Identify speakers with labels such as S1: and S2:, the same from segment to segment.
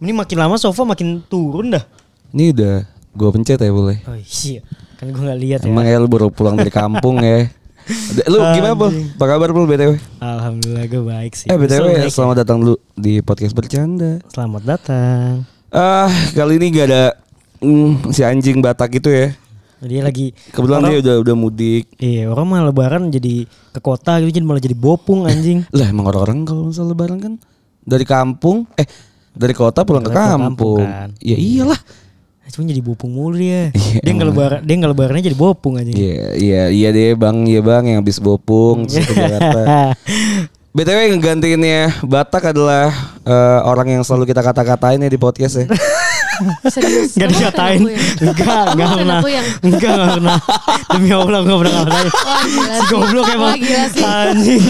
S1: Ini makin lama sofa makin turun dah.
S2: Ini udah gua pencet ya boleh.
S1: Oh iya. Kan gue nggak lihat
S2: Emang
S1: ya.
S2: ya lu baru pulang dari kampung ya. Udah, Lu gimana Pul? Apa kabar Pul BTW?
S1: Alhamdulillah gue baik sih.
S2: Eh BTW
S1: Selamat-
S2: selamat datang dulu di podcast bercanda.
S1: Selamat datang.
S2: Ah, kali ini gak ada mm, si anjing Batak itu ya.
S1: Dia lagi
S2: Kebetulan
S1: orang,
S2: dia udah udah mudik.
S1: Iya, orang mah lebaran jadi ke kota gitu jadi malah jadi bopung anjing.
S2: Lah emang orang-orang kalau misal lebaran kan dari kampung eh dari kota pulang ke
S1: Pulang ke kampung
S2: kampung.
S1: kan.
S2: Ya iyalah.
S1: Cuma jadi bopung mulu dia.
S2: Iya,
S1: dia nggak lebaran, dia nggak lebarannya jadi bopung anjing.
S2: Iya iya iya deh Bang, iya Bang yang habis bopung terus ke Jakarta. BTW yang ngegantiinnya Batak adalah eh, orang yang selalu kita kata-katain ya di podcast ya.
S3: Serius.
S1: Gak
S3: Emang bukan
S1: dikatain
S3: aku yang-
S1: Enggak Enggak pernah
S3: Emang bukan aku yang-
S1: Enggak enggak pernah Demi Allah enggak pernah enggak pernah.
S3: Wah, gila
S1: Si
S3: sih.
S1: Goblok
S3: Wah,
S1: emang
S3: gila sih.
S1: Anjing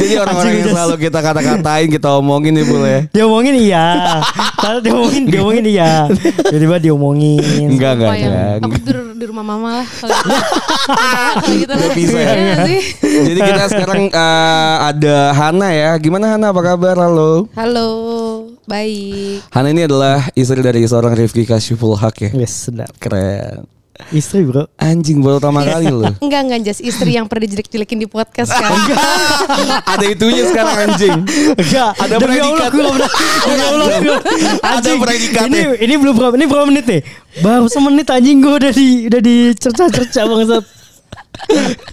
S2: Jadi orang-orang yang selalu kita kata-katain, kita omongin ya, nih boleh.
S1: Diomongin iya Padahal diomongin Diomongin iya Tiba-tiba diomongin
S2: Enggak enggak
S3: Wah, yang-
S2: enggak.
S3: Aku tidur di rumah mama lah kalau gitu. Kalau gitu lah.
S2: Udah bisa ya?
S3: Iya gak sih?
S2: Jadi kita sekarang eh, ada Hana ya. Gimana Hana apa kabar? Halo.
S3: Halo, baik.
S2: Hana ini adalah istri dari seorang Rifki Kasyiful Haq ya.
S1: Wes sedap
S2: Keren.
S1: Istri bro
S2: Anjing baru pertama kali loh.
S3: Enggak enggak just istri yang pernah dijelek-jelekin di podcast kan.
S2: ada itunya sekarang anjing.
S1: Enggak
S2: Ada
S1: Demi Allah
S2: predikat.
S1: gue nggak pernah Demi Allah gue nggak pernah.
S2: Ada ya.
S1: Anjing
S2: predikatnya.
S1: Ini ini belum berapa Ini berapa menit nih Baru semenit anjing gue udah di Udah dicerca-cerca bangsat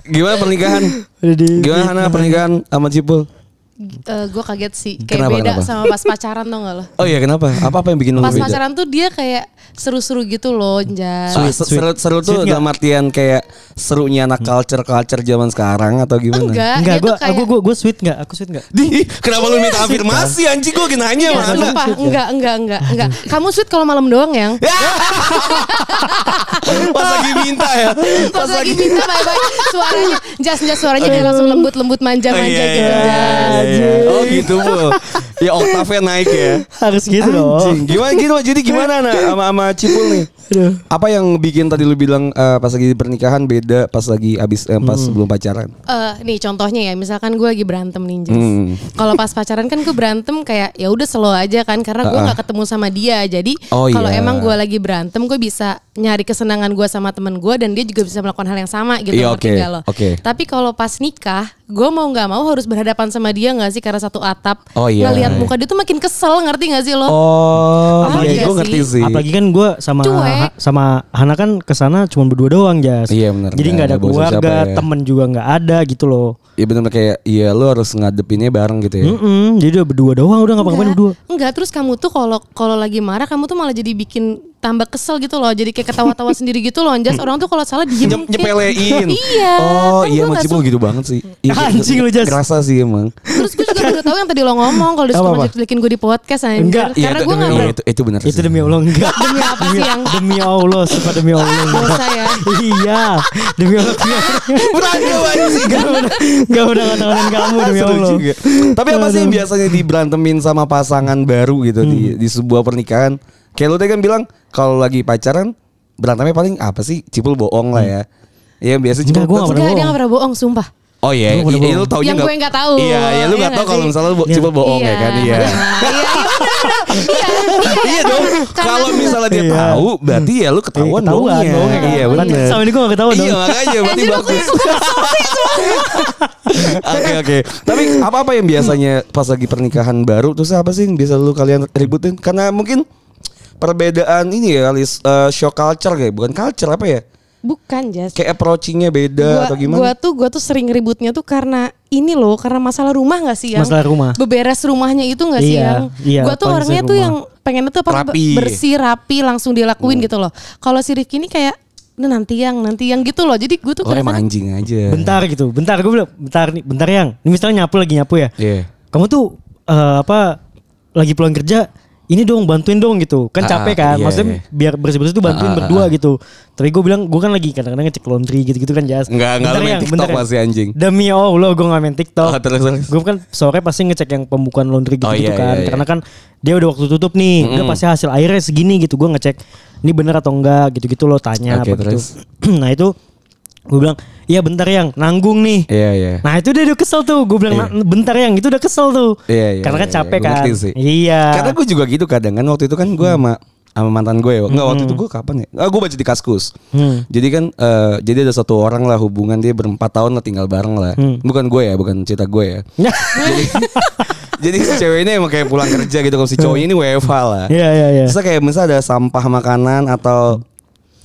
S2: Gimana pernikahan?
S1: Udah di
S2: Gimana Hana pernikahan sama Cipul?
S3: gue Gitu, eh, kaget sih kayak
S2: Kenapa,
S3: beda
S2: kenapa?
S3: sama pas pacaran tau gak loh.
S2: Oh iya kenapa? Apa-apa yang bikin lu
S3: Pas
S2: beda?
S3: pacaran tuh dia kayak seru-seru gitu loh, Jas.
S2: Ah, se- seru, seru tuh
S1: Sweet
S2: dalam artian kayak serunya anak culture culture zaman sekarang atau gimana?
S3: Enggak,
S1: Enggak
S3: dia
S1: gue
S3: tuh kayak
S1: gue gue sweet enggak Aku sweet enggak
S2: Di, kenapa lu minta afirmasi anjing gua gini nanya
S3: Enggak,
S2: mana?
S3: Iya, sumpah, enggak, enggak, enggak, enggak. Kamu sweet kalau malam doang, Yang.
S2: Pas lagi minta ya.
S3: Pas lagi minta bye-bye suaranya. Jas, jas suaranya dia langsung lembut-lembut manja-manja
S2: iya. Oh, iya,
S3: gitu,
S2: iya,
S3: Jas.
S2: iya, iya. Oh gitu bu. Ya oktavnya naik ya.
S1: Harus gitu dong
S2: Anjing. Gimana gitu jadi gimana nah sama sama Cipul nih?
S1: Aduh.
S2: Apa yang bikin tadi lu bilang eh, pas lagi pernikahan beda pas lagi abis eh, pas
S1: Hmm.
S2: sebelum pacaran?
S3: Eh, nih contohnya ya misalkan gue lagi berantem nih Jas.
S2: Hmm.
S3: kalau pas pacaran kan gue berantem kayak ya udah slow aja kan karena gue nggak ketemu sama dia jadi
S2: Oh,
S3: kalau
S2: iya.
S3: emang gue lagi berantem gue bisa nyari kesenangan gue sama temen gue dan dia juga bisa melakukan hal yang sama gitu
S2: Iya,
S3: ngerti
S2: oke,
S3: nggak lo?
S2: oke.
S3: tapi kalau pas nikah gue mau nggak mau harus berhadapan sama dia nggak sih karena satu atap
S2: Oh, iya.
S3: ngelihat muka dia tuh makin kesel ngerti nggak sih lo
S2: Oh,
S3: Apa
S2: iya,
S3: iya
S2: gue
S3: sih?
S2: ngerti sih.
S1: Apalagi kan gue sama
S3: Cuek.
S1: sama Hana kan kesana cuma berdua doang Jas.
S2: Iya, benar.
S1: Jadi nggak ada
S2: Nggak ada bawa siapa-siapa
S1: keluarga,
S2: ya.
S1: temen juga nggak ada gitu loh.
S2: Ya benar kayak iya lu harus ngadepinnya bareng gitu ya.
S1: Mm-mm, jadi udah berdua doang udah ngapa-ngapain berdua.
S3: Enggak, terus kamu tuh kalau kalau lagi marah kamu tuh malah jadi bikin tambah kesel gitu loh. Jadi kayak ketawa-tawa sendiri gitu loh. Anjas orang tuh kalau salah diem
S2: Nyep-
S3: kayak-
S2: nyepelein.
S3: Iya.
S2: Oh
S3: kan
S2: iya
S3: gua nggak
S2: macam
S3: suka.
S2: gitu banget sih. Iya,
S1: Anjing lu, Jas.
S2: Kerasa sih emang.
S3: Terus gue juga udah tahu yang tadi lo ngomong kalau disuruh
S2: Apa-apa?
S3: ngejelekin gue di podcast anjir.
S1: Enggak.
S2: Iya,
S3: Karena
S2: itu
S3: gue
S2: demi
S3: enggak
S2: Allah,
S3: ber-
S2: itu, itu benar
S1: Itu
S2: sih.
S1: demi Allah enggak.
S3: demi apa sih yang
S1: demi Allah, sumpah demi Allah. enggak.
S3: dosa ya.
S1: iya, demi Allah.
S2: Berani anjing.
S1: Gak pernah gak pernah ngatakan kamu Oh, demi
S2: Seru
S1: Allah. Eh,
S2: juga. Tapi apa sih yang biasanya diberantemin sama pasangan baru gitu di,
S1: Hmm.
S2: di sebuah pernikahan? Kayak lu tadi kan bilang kalau lagi pacaran berantemnya paling apa sih? Cipul bohong lah ya. Iya biasa cipul.
S1: Enggak, gua nggak
S3: Enggak,
S1: pernah
S3: dia
S1: bohong.
S3: gak pernah bohong, sumpah.
S2: Oh iya,
S1: Gua nggak
S2: iya,
S1: bohong.
S2: lu taunya
S3: Yang gue nggak tahu.
S2: Iya, iya lu nggak
S3: Iya
S2: tahu
S3: nggak
S2: kalau
S3: sih?
S2: misalnya lu bo- cipul bohong ya kan iya.
S3: Iya, iya, bener-bener. Iya, iya, iya. Karena-
S2: Kalau misalnya dia
S1: Iya.
S2: tahu, berarti ya lu ketahuan
S1: Iya, ketahuan
S2: bohongnya.
S1: bohongnya kan.
S2: Iya,
S3: Iya.
S2: benar.
S1: Sama ini gue gak ketahuan dong.
S2: Iya makanya berarti
S3: Anjir, aku
S2: bagus.
S3: yang suka
S2: Oke oke. Tapi apa-apa yang biasanya pas lagi pernikahan baru terus apa sih yang biasa lu kalian ributin? Karena mungkin perbedaan ini ya kali eh, show culture kayak bukan culture apa ya?
S3: Bukan, Jas.
S2: Kayak approachingnya beda atau gimana?
S3: Gua tuh gua tuh sering ributnya tuh karena ini loh, karena masalah rumah nggak sih yang
S1: Masalah rumah.
S3: Beberes rumahnya itu nggak sih
S1: Iya,
S3: yang
S1: iya,
S3: gua tuh
S1: paling
S3: orangnya
S1: sering
S3: tuh
S1: rumah.
S3: yang pengennya tuh apa
S2: Rapi.
S3: bersih rapi langsung dilakuin
S1: Hmm.
S3: gitu loh. Kalau si Rifki ini kayak "Nah, nanti yang nanti yang gitu loh. Jadi gue tuh
S2: oh emang
S3: kadang-kadang-
S2: anjing aja.
S1: Bentar gitu, bentar gue bilang, bentar nih, bentar yang. Ini misalnya nyapu lagi nyapu ya.
S2: Iya.
S1: kamu tuh eh, apa lagi pulang kerja ini dong bantuin dong gitu kan
S2: Ah,
S1: capek
S2: ah,
S1: kan
S2: iya,
S1: maksudnya
S2: iya.
S1: biar bersih bersih tuh bantuin
S2: Ah, ah,
S1: berdua
S2: ah.
S1: gitu tapi gue bilang gue kan lagi kadang-kadang ngecek laundry gitu gitu kan jas
S2: Enggak, enggak, lu main
S1: Yang,
S2: TikTok
S1: bentar, Yang.
S2: masih anjing.
S1: demi allah gue nggak main tiktok
S2: Oh, terus terus.
S1: gue kan sore pasti ngecek yang pembukaan laundry gitu,
S2: Oh, iya,
S1: kan
S2: iya, iya.
S1: karena kan dia udah waktu tutup nih udah pasti hasil airnya segini gitu gue ngecek ini bener atau enggak gitu gitu lo tanya
S2: Oke,
S1: apa gitu
S2: terus?
S1: nah itu gue bilang Iya bentar yang nanggung nih.
S2: Iya iya.
S1: Nah itu dia udah kesel tuh Gue bilang
S2: Iya.
S1: "Nah, bentar yang itu udah kesel tuh
S2: Iya, iya,
S1: Karena kan
S2: iya, iya.
S1: capek
S2: Gua
S1: kan
S2: ngerti sih.
S1: Iya
S2: Karena gue juga gitu kadang kan waktu itu kan gue sama sama mantan gue ya. Enggak waktu itu gue kapan ya? Ah, gue baca di Kaskus. Jadi kan eh, jadi ada satu orang lah hubungan dia berempat tahun lah tinggal bareng lah. Bukan gue ya, bukan cerita gue ya.
S1: Iya,
S2: jadi, jadi si cewek ini emang kayak pulang kerja gitu kalau si cowoknya ini WFH lah.
S1: Iya iya iya
S2: Terus kayak misalnya ada sampah makanan atau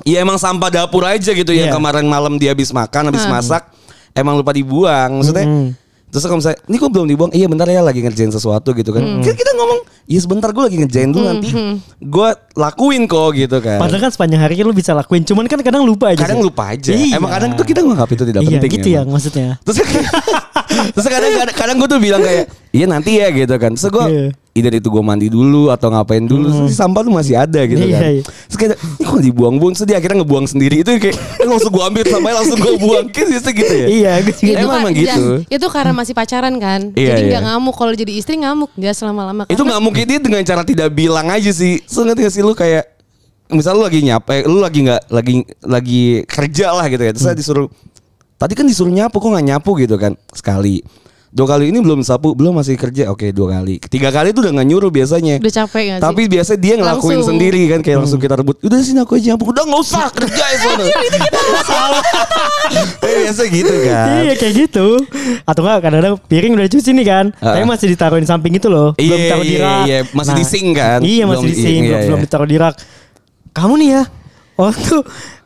S2: Iya emang sampah dapur aja gitu ya
S1: Iya.
S2: kemarin malam dia habis makan, habis masak, emang lupa dibuang. Maksudnya
S1: Hmm.
S2: Terus kalau misalnya, ini kok belum dibuang? Iya bentar ya lagi ngerjain sesuatu gitu kan. Kan kita ngomong, iya sebentar gue lagi ngerjain dulu nanti gue lakuin kok gitu kan.
S1: Padahal kan sepanjang hari lu bisa lakuin Cuman kan kadang lupa aja
S2: kadang
S1: sih.
S2: lupa aja.
S1: Iya.
S2: Emang kadang tuh kita nganggap itu tidak
S1: Iya
S2: penting.
S1: gitu
S2: emang.
S1: ya maksudnya
S2: Terus terus kadang kadang, kadang gue tuh bilang kayak iya nanti ya gitu kan. Terus gue
S1: Iya. Hmm.
S2: either itu gue mandi dulu atau ngapain dulu terus sampah tuh masih ada gitu
S1: Iya,
S2: kan.
S1: iya.
S2: Terus kayak ini kok dibuang-buang terus dia akhirnya ngebuang sendiri itu kayak langsung gue ambil sampahnya langsung gue buang gitu gitu ya.
S1: Iya gue juga
S3: Itu
S2: Emang
S3: kan-
S2: emang gitu.
S3: Itu karena masih pacaran kan.
S2: Iya,
S3: jadi
S2: iya.
S3: nggak ngamuk kalau jadi istri ngamuk nggak selama-lama. kan.
S2: Itu
S3: Karena-
S2: nggak mungkin dia dengan cara tidak bilang aja sih. Terus ngerti gak sih lu kayak misal lu lagi nyapu, eh, lu lagi nggak lagi lagi kerja lah gitu ya. Terus saya disuruh tadi kan disuruh nyapu kok nggak nyapu gitu kan sekali. Dua kali ini belum sapu, belum masih kerja. Oke, dua kali. Ketiga kali itu udah nggak nyuruh biasanya.
S3: Udah capek nggak sih?
S2: Tapi biasanya dia ngelakuin
S3: Langsung.
S2: sendiri kan kayak langsung kita rebut. Udah sini aku aja nyapu. Udah nggak usah kerja ya sono. Eh, biasa gitu kan.
S1: Iya kayak gitu Atau enggak kadang-kadang piring udah cuci nih kan
S2: Ah.
S1: Tapi masih ditaruhin samping itu loh Belum
S2: Iya,
S1: taruh di
S2: iya,
S1: rak
S2: iya. Masih di sink kan?
S1: Iya masih
S2: Belum-
S1: di sink
S2: iya,
S1: belum-
S2: iya.
S1: Belum ditaruh di rak Kamu nih ya Waktu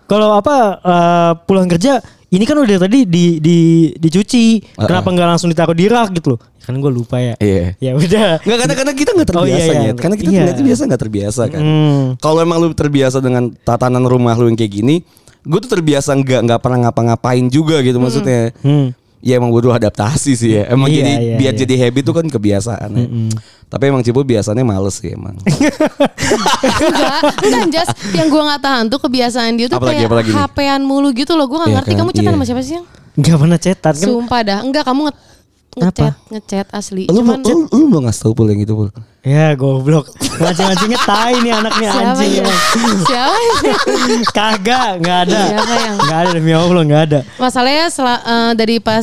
S1: Kalau apa eh, Pulang kerja Ini kan udah tadi di, di dicuci
S2: Ah,
S1: Kenapa
S2: ah.
S1: nggak langsung ditaruh di rak gitu loh Kan gue lupa ya
S2: Iya.
S1: Ya udah
S2: Enggak karena karena kita nggak
S1: Oh, iya,
S2: terbiasa
S1: iya.
S2: Nyet. Karena kita
S1: Iya.
S2: ternyata biasa nggak terbiasa kan.
S1: Hmm.
S2: Kalau emang lu terbiasa dengan tatanan rumah lu yang kayak gini, gue tuh terbiasa nggak nggak pernah ngapa-ngapain juga gitu maksudnya.
S1: Hmm.
S2: Ya emang butuh adaptasi sih ya. Emang
S1: Iya,
S2: jadi
S1: iya,
S2: biar
S1: iya.
S2: jadi habit tuh kan kebiasaan ya. Tapi emang Cipu biasanya males sih emang.
S3: enggak, enggak Jas. Yang gue nggak tahan tuh kebiasaan dia tuh
S2: Apalagi,
S3: kayak
S2: apalagi nih?
S3: HP-an mulu gitu loh. Gue nggak
S2: Iya
S3: ngerti
S2: kan,
S3: kamu chatan
S2: iya.
S3: sama siapa sih yang?
S1: Gak pernah cetak kan
S3: Sumpah dah. Enggak kamu nge ngechat, ngechat asli.
S2: lu mau
S3: Cuman
S2: lu, lu mau ngasih tau pul yang itu pul.
S1: Ya goblok Anjing-anjingnya tai nih anaknya
S3: siapa
S1: anjing
S3: ya?
S1: emang.
S3: Siapa ya?
S1: Kagak Gak ada
S3: Siapa yang-
S1: Gak ada demi Allah gak ada
S3: Masalahnya sel- eh, dari pas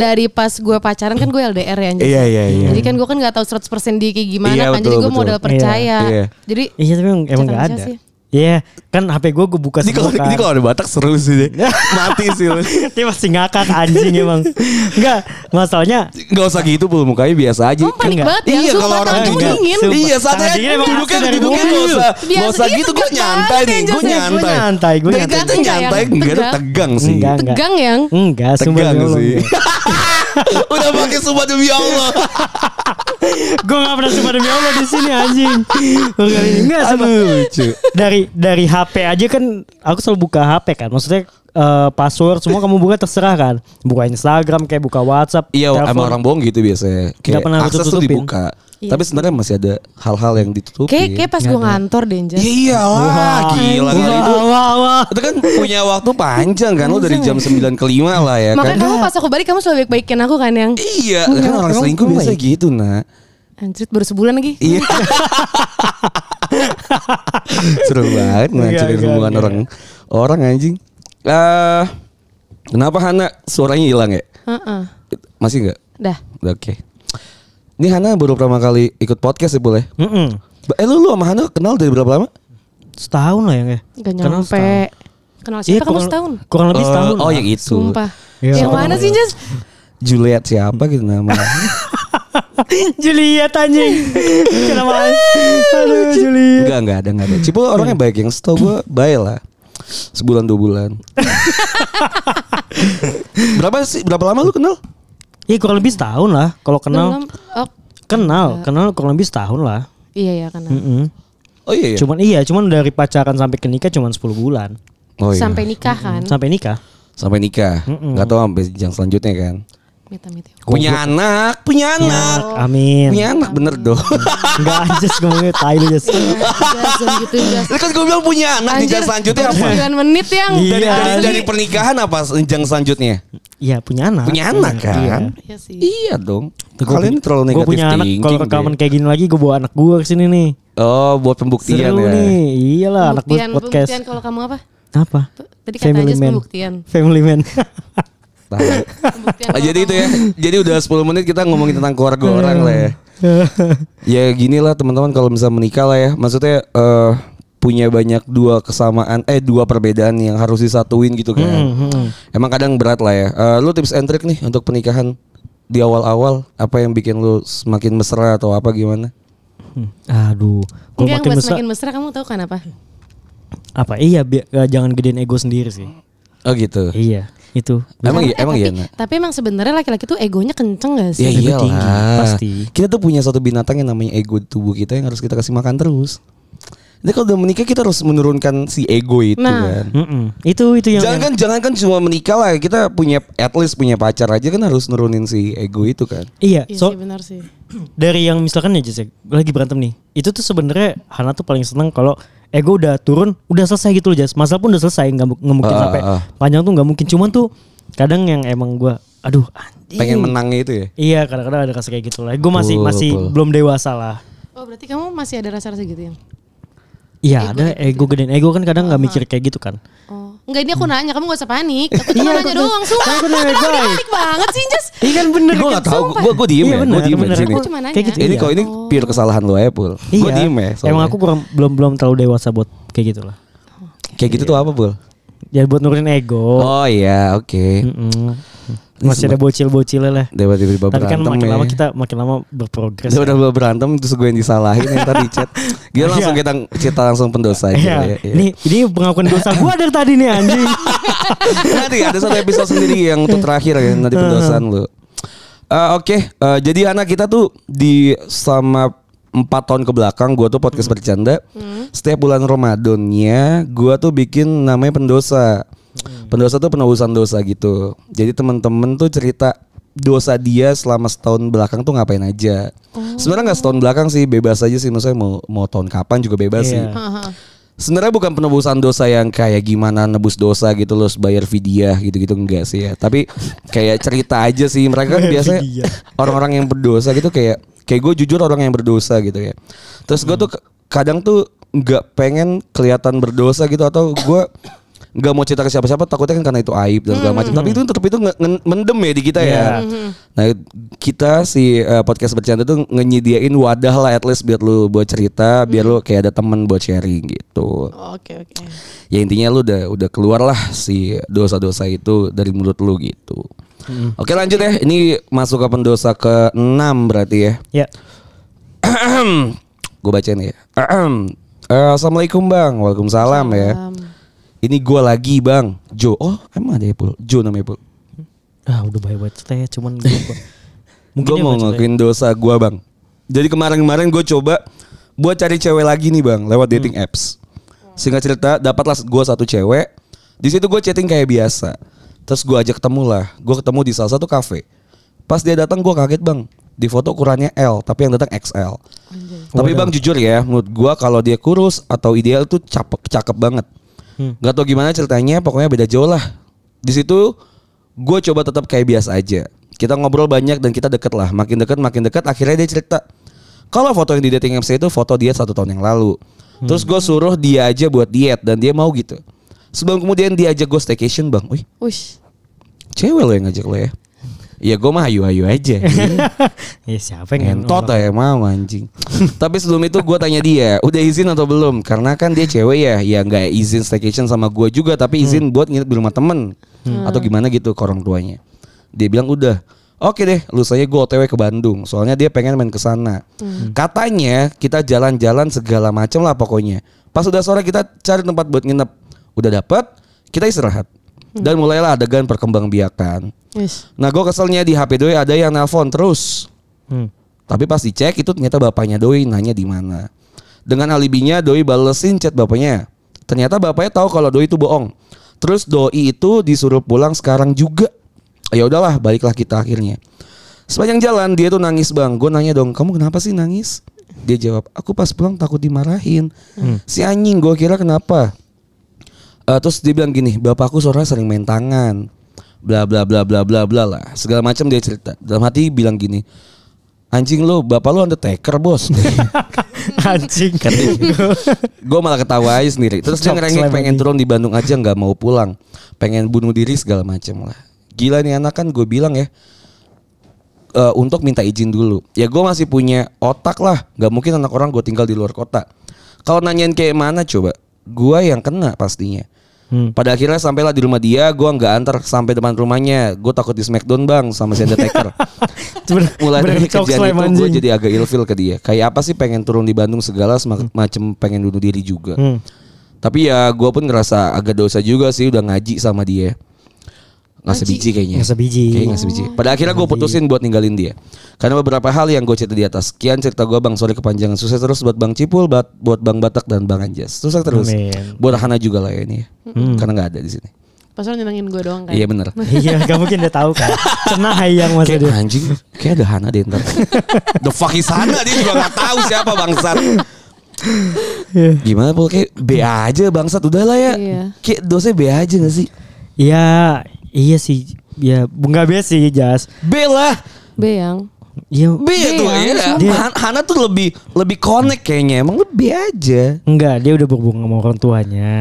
S3: dari pas gue pacaran kan gue LDR ya. anjing.
S2: Iya, iya, iya.
S3: Jadi kan gue kan nggak tahu 100% dia kayak gimana
S2: Iya,
S3: kan. Jadi
S2: betul,
S3: gue
S2: betul.
S3: modal
S2: Iya.
S3: percaya.
S2: Iya.
S3: Jadi
S1: Iya tapi emang, emang
S3: Cetak
S1: gak
S3: aja
S1: ada
S3: sih.
S1: Iya kan HP gue gue buka
S2: Ini kalau
S1: semua kan
S2: ini kalau ada Batak seru sih deh. Mati sih lu.
S1: Dia masih ngakak anjing emang Enggak Masalahnya
S2: Gak usah gitu pul mukanya biasa aja.
S3: kamu panik
S1: enggak.
S3: banget ya.
S2: Iya,
S3: Sumpah
S2: kalau orang
S3: tangan kamu
S1: enggak.
S3: dingin.
S1: Sumpah.
S2: Iya santai
S1: Tangan dingin
S2: aja
S1: emang
S2: Dudukin
S1: langsung dari
S2: dudukin
S1: bawah.
S2: Gak usah
S3: Biasa
S2: Gak usah
S3: gitu,
S2: gitu Gue
S3: tegang
S2: nyantai
S3: deh,
S2: nih Gue
S3: Justin.
S2: nyantai
S1: Gua nyantai, gua
S2: Dari
S1: nyantai.
S2: tadi tuh nyantai
S3: Tegang.
S2: Enggak ada tegang sih
S1: Enggak, enggak.
S3: Tegang yang.
S1: Enggak sumpah ya
S2: Tegang sih Udah pakai sumpah demi Allah
S1: Gue gak pernah sumpah demi Allah di sini anjing Gua kali ini Enggak sumpah
S2: Aduh lucu
S1: dari dari HP aja kan aku selalu buka HP kan maksudnya eh, password semua kamu buka terserah kan buka Instagram kayak buka WhatsApp
S2: Iya
S1: telepon.
S2: emang orang bohong gitu biasanya
S1: Nggak
S2: Kayak
S1: pernah aku
S2: akses tuh
S1: tutupin.
S2: dibuka
S3: Iya
S2: Tapi sebenarnya masih ada hal-hal yang ditutupin
S3: Kayak kayak pas gue ngantor deh. Jas.
S2: Ya iyalah Gila
S1: wah,
S2: kali itu
S1: wah, wah.
S2: Itu kan punya waktu panjang kan Lo dari jam 9 ke 5 lah ya kan
S3: Makanya kamu pas aku balik kamu selalu baik-baikin aku kan yang
S2: Iya Kan orang
S1: emang
S2: selingkuh
S1: gue
S2: biasa
S1: baik.
S2: gitu nak
S3: Anjrit baru sebulan lagi.
S2: Iya. Seru banget ngancurin
S1: Enggak,
S2: hubungan
S1: enggak,
S2: orang orang anjing. Eh, kenapa Hana suaranya hilang ya?
S3: Heeh.
S2: Masih nggak?
S3: Dah.
S2: Udah, Oke. Ini Hana baru pertama kali ikut podcast ya boleh.
S1: Mm-mm.
S2: Eh lu lu sama Hana kenal dari berapa lama?
S1: setahun lah ya nggak?
S3: Gak
S1: Kenal
S3: nyampe.
S1: setahun.
S3: Kenal
S1: Iya,
S3: siapa kamu
S1: kurang-
S3: setahun?
S1: kurang lebih
S2: Eh,
S1: setahun
S2: Oh
S1: lah.
S2: yang itu.
S3: Sumpah.
S1: Iya.
S3: Yang mana sih Jas?
S2: Juliet siapa gitu nama?
S1: Juliet anjing kenapa aduh Juliet
S2: enggak enggak ada enggak ada. Cipul orangnya baik yang setahu gue baik lah. Sebulan dua bulan. berapa sih berapa lama lu kenal?
S1: iya kurang lebih setahun lah kalau kenal
S3: Belum. Oh,
S1: kenal kenal kurang lebih setahun lah
S3: iya ya kenal.
S1: Mm-mm.
S2: Oh iya. iya.
S1: cuman iya cuman dari pacaran sampai ke nikah cuman 10 bulan
S2: Oh, iya.
S3: Sampai nikah kan.
S1: sampai nikah
S2: sampai nikah nggak tahu sampai jenjang selanjutnya kan
S3: Mita mita.
S2: punya anak punya anak
S1: amin
S2: punya anak bener dong
S1: Enggak anjir ngomongnya tai lu Jess.
S3: Jas gitu Jas.
S2: kan gue bilang punya anak jenjang selanjutnya apa
S3: Sembilan menit yang.
S1: Iya.
S2: dari, dari,
S1: Asli.
S2: dari pernikahan apa jenjang selanjutnya
S1: Iya punya anak.
S2: punya anak kan
S3: Iya sih.
S2: iya dong
S1: Gua
S2: kalian
S1: punya-
S2: terlalu
S1: gua
S2: negatif
S1: punya anak. Kalau
S2: thinking iya.
S1: rekaman
S2: deh.
S1: kayak gini lagi gue bawa anak gue kesini nih.
S2: oh buat pembuktian
S1: Seru
S2: ya
S1: nih. Iyalah anak buat
S3: Pembuktian,
S1: podcast.
S3: pembuktian kalau kamu apa?
S1: Apa?
S3: Tadi kata aja pembuktian.
S1: Family man.
S2: Tahu.
S3: Pembuktian
S2: Ah,
S3: kalau
S2: jadi itu
S3: kamu-
S2: ya. Jadi udah 10 menit kita ngomongin tentang keluarga
S3: Hmm.
S2: orang lah ya. Ya gini lah teman-teman kalau bisa menikah lah ya. Maksudnya eh, punya banyak dua kesamaan eh dua perbedaan yang harus disatuin gitu kan.
S3: Hmm,
S2: Emang kadang berat lah ya. Eh, lu tips and trick nih untuk pernikahan di awal-awal apa yang bikin lu semakin mesra atau apa gimana?
S1: Hmm. Aduh, kalau
S3: Enggak, yang
S1: makin
S3: buat
S1: besar
S3: semakin mesra kamu tahu kan apa?
S1: apa? Iya, bi- eh, jangan gedein ego sendiri sih.
S2: Oh gitu.
S1: Iya, itu.
S2: Emang iya,
S3: Eh,
S2: emang
S3: tapi,
S2: iya. Nak?
S3: Tapi emang sebenarnya laki-laki tuh egonya kenceng gak
S1: Iya,
S2: Ya
S3: sih?
S1: ego
S2: iyalah.
S1: tinggi, pasti.
S2: Kita tuh punya satu binatang yang namanya ego di tubuh kita yang harus kita kasih makan terus. Jadi kalau udah menikah kita harus menurunkan si ego itu
S3: Nah.
S2: kan.
S1: Mm-mm. Itu itu yang
S2: Jangan kan, jangan kan cuma menikah lah kita punya at least punya pacar aja kan harus nurunin si ego itu kan.
S1: Iya,
S3: Iya
S1: so
S3: sih benar sih.
S1: dari yang misalkan ya Jess, ya, lagi berantem nih. Itu tuh sebenarnya Hana tuh paling seneng kalau ego udah turun, udah selesai gitu loh Jess. Masalah pun udah selesai, nggak mu- nggak mungkin
S2: Ah, ah,
S1: sampai
S2: ah.
S1: panjang tuh nggak mungkin. Cuman tuh kadang yang emang gua aduh anjing.
S2: Pengen menangnya itu ya.
S1: Iya, kadang-kadang ada rasa kayak gitu lah. Gue masih
S2: Betul,
S1: masih
S2: betul.
S1: belum dewasa lah.
S3: Oh berarti kamu masih ada rasa-rasa gitu ya?
S1: Iya, ada ego gedein ego kan kadang
S3: Ah,
S1: nggak mikir kayak gitu kan.
S3: Oh enggak ini aku nanya kamu gak usah panik. Aku
S1: Iya,
S3: cuma nanya
S1: aku-
S3: doang sumpah.
S1: aku nanya,
S3: Kenapa dia
S1: guys.
S3: panik banget sih Jas?
S1: Iya kan bener
S2: Gue
S1: kan?
S2: gak tau,
S3: sumpah.
S2: gue gue diem
S1: Iya,
S2: ya, gue
S1: bener,
S2: diem ya
S1: bener.
S2: sini.
S3: Aku cuma nanya.
S1: Kayak gitu.
S2: Ini
S1: Iya.
S2: kalau ini pure kesalahan lu aja pul. Gue
S1: Iya.
S2: diem ya. soalnya.
S1: Emang aku kurang belum belum terlalu dewasa buat kayak gitulah.
S2: kayak
S1: Iya.
S2: gitu tuh apa pul?
S1: Ya buat nurunin ego.
S2: Oh iya oke.
S1: Mm-mm. Masih ada bocil-bocilnya lah.
S2: Dewa tiba-tiba
S1: Tapi kan
S2: berantem
S1: makin
S2: ya. Iya,
S1: lama kita makin lama berprogres.
S2: Dia udah mulai berantem terus gue yang disalahin yang tadi chat. Dia langsung
S1: Iya.
S2: kita cerita langsung pendosa aja.
S1: Iya.
S2: ya, ya.
S1: Ini ini pengakuan dosa gua dari tadi nih anjing.
S2: nanti ada satu episode sendiri yang untuk terakhir ya nanti pendosaan lu. Eh, Oke, eh, jadi anak kita tuh di sama empat tahun ke belakang gue tuh podcast bercanda. Setiap bulan Ramadannya gue tuh bikin namanya pendosa. Pendosa tuh penebusan dosa gitu. Jadi temen-temen tuh cerita dosa dia selama setahun belakang tuh ngapain aja. Sebenarnya nggak setahun belakang sih, bebas aja sih. Maksudnya mau mau tahun kapan juga bebas sih.
S1: Iya.
S3: Haha.
S2: Sebenarnya bukan penebusan dosa yang kayak gimana nebus dosa gitu loh bayar fidyah gitu-gitu enggak sih ya. Tapi kayak cerita aja sih mereka kan
S1: Bayar
S2: biasanya
S1: fidyah.
S2: orang-orang yang berdosa gitu kayak kayak gue jujur orang yang berdosa gitu ya. Terus gue tuh ke- kadang tuh nggak pengen kelihatan berdosa gitu atau gue nggak mau cerita ke siapa-siapa takutnya kan karena itu aib dan segala macam. Tapi itu tetap itu nge- nge- mendem ya di kita
S1: Iya.
S2: ya. Nah kita si eh, podcast bercanda tuh ngenyediain wadah lah at least biar lu buat cerita, biar lu kayak ada temen buat sharing gitu.
S3: Oke oke.
S2: Ya intinya lu udah udah keluar lah si dosa-dosa itu dari mulut lu gitu. Oke lanjut ya, ini masuk ke pendosa ke 6 berarti ya.
S1: ya.
S2: Gue bacain ya. Eh, Assalamualaikum bang, waalaikumsalam ya. Ini gue lagi bang, Jo. Oh emang ada ya Pul? Jo namanya Pul.
S1: Ah, udah baik banget cerita ya, cuman gua, gua-
S2: Gue
S1: dia
S2: mau
S1: baca
S2: ngakuin dosa gue bang. Jadi kemarin-kemarin gue coba buat cari cewek lagi nih bang
S1: Hmm.
S2: lewat dating apps. Singkat cerita dapatlah gue satu cewek. Di situ gue chatting kayak biasa. Terus gue ajak ketemu lah. Gue ketemu di salah satu kafe. Pas dia datang gue kaget bang. Di foto ukurannya L tapi yang datang XL. Tapi bang jujur ya menurut gue kalau dia kurus atau ideal tuh cakep cakep banget.
S1: Hmm.
S2: Gak tau gimana ceritanya pokoknya beda jauh lah. Di situ gue coba tetap kayak biasa aja. Kita ngobrol banyak dan kita deket lah. Makin deket, makin deket. Akhirnya dia cerita. Kalau foto yang di dating apps itu foto dia satu tahun yang lalu. Terus gue suruh dia aja buat diet dan dia mau gitu. Sebelum kemudian dia ajak gue staycation bang. Wih,
S3: Ush.
S2: cewek lo yang ngajak lo ya? Iya gue mah hayu-hayu aja.
S1: Ya siapa yang
S2: Ngentot
S1: orang-
S2: ya mau anjing. Tapi sebelum itu gue tanya dia, udah izin atau belum? Karena kan dia cewek ya, ya nggak izin staycation sama gue juga, tapi izin buat nginep di rumah temen atau gimana gitu ke orang tuanya. Dia bilang udah. Oke deh, lusanya gue otw ke Bandung. Soalnya dia pengen main ke sana. Katanya kita jalan-jalan segala macam lah pokoknya. Pas udah sore kita cari tempat buat nginep. Udah dapat, kita istirahat. Dan mulailah adegan perkembangbiakan.
S3: Ush.
S2: Nah gue keselnya di HP doi ada yang nelpon terus.
S1: Hmm.
S2: Tapi pas dicek itu ternyata bapaknya Doi nanya di mana. Dengan alibinya Doi balesin chat bapaknya. Ternyata bapaknya tahu kalau Doi itu bohong. Terus Doi itu disuruh pulang sekarang juga. Ya udahlah, baliklah kita akhirnya. Sepanjang jalan dia tuh nangis bang. Gue nanya dong, kamu kenapa sih nangis? Dia jawab, aku pas pulang takut dimarahin. Si anjing gue kira kenapa? Eh, terus dia bilang gini, bapakku sore sering main tangan, bla bla bla bla bla bla lah, segala macam dia cerita. Dalam hati bilang gini, anjing lo, bapak lo undertaker bos.
S1: anjing.
S2: Kan gue malah ketawa aja sendiri. Terus dia
S1: Cok,
S2: ngerengek
S1: selamat
S2: pengen
S1: pagi.
S2: turun di Bandung aja nggak mau pulang, pengen bunuh diri segala macam lah. gila nih anak kan gue bilang ya eh, untuk minta izin dulu. Ya gue masih punya otak lah, nggak mungkin anak orang gue tinggal di luar kota. Kalau nanyain kayak mana coba, gue yang kena pastinya. Pada akhirnya sampailah di rumah dia, gue nggak antar sampai depan rumahnya. Gue takut di Smackdown bang sama si Undertaker.
S1: Bener-
S2: Mulai
S1: bener
S2: dari
S1: cok
S2: kejadian
S1: slam
S2: itu gue
S1: anjing.
S2: jadi agak ilfil ke dia. Kayak apa sih pengen turun di Bandung segala semak- macem pengen bunuh diri juga.
S1: Hmm.
S2: Tapi ya gue pun ngerasa agak dosa juga sih udah ngaji sama dia. Nggak sebiji kayaknya.
S1: Nggak sebiji.
S2: Iya. Kayaknya nggak sebiji. Pada akhirnya gue putusin buat ninggalin dia. Karena beberapa hal yang gue cerita di atas. Sekian cerita gue Bang Sore kepanjangan. Sukses terus buat Bang Cipul, buat, buat Bang Batak dan Bang Anjas. Sukses terus.
S1: Amin.
S2: Buat Hana juga lah ya ini. ya. Karena nggak ada di sini.
S3: Pasal nyenengin gue doang kan.
S2: Iya bener.
S1: Iya, gak mungkin dia tahu kan. Cenah hayang masa
S2: Kayak
S1: dia.
S2: anjing, kayak ada Hana deh ntar. The fuck is Hana dia juga nggak tahu siapa bangsat.
S1: Iya.
S2: Gimana pul kayak B aja bangsat udahlah ya.
S3: Iya.
S2: Kayak dosanya B aja gak sih?
S1: Iya, iya sih. Ya, nggak biasa sih, Jas.
S2: B lah.
S3: Beyang.
S1: Iya,
S2: B, tuh
S3: ya,
S2: ya.
S1: Dia-
S2: Han- Hana tuh lebih lebih connect kayaknya. Emang lu B aja.
S1: enggak, dia udah berhubung sama orang tuanya.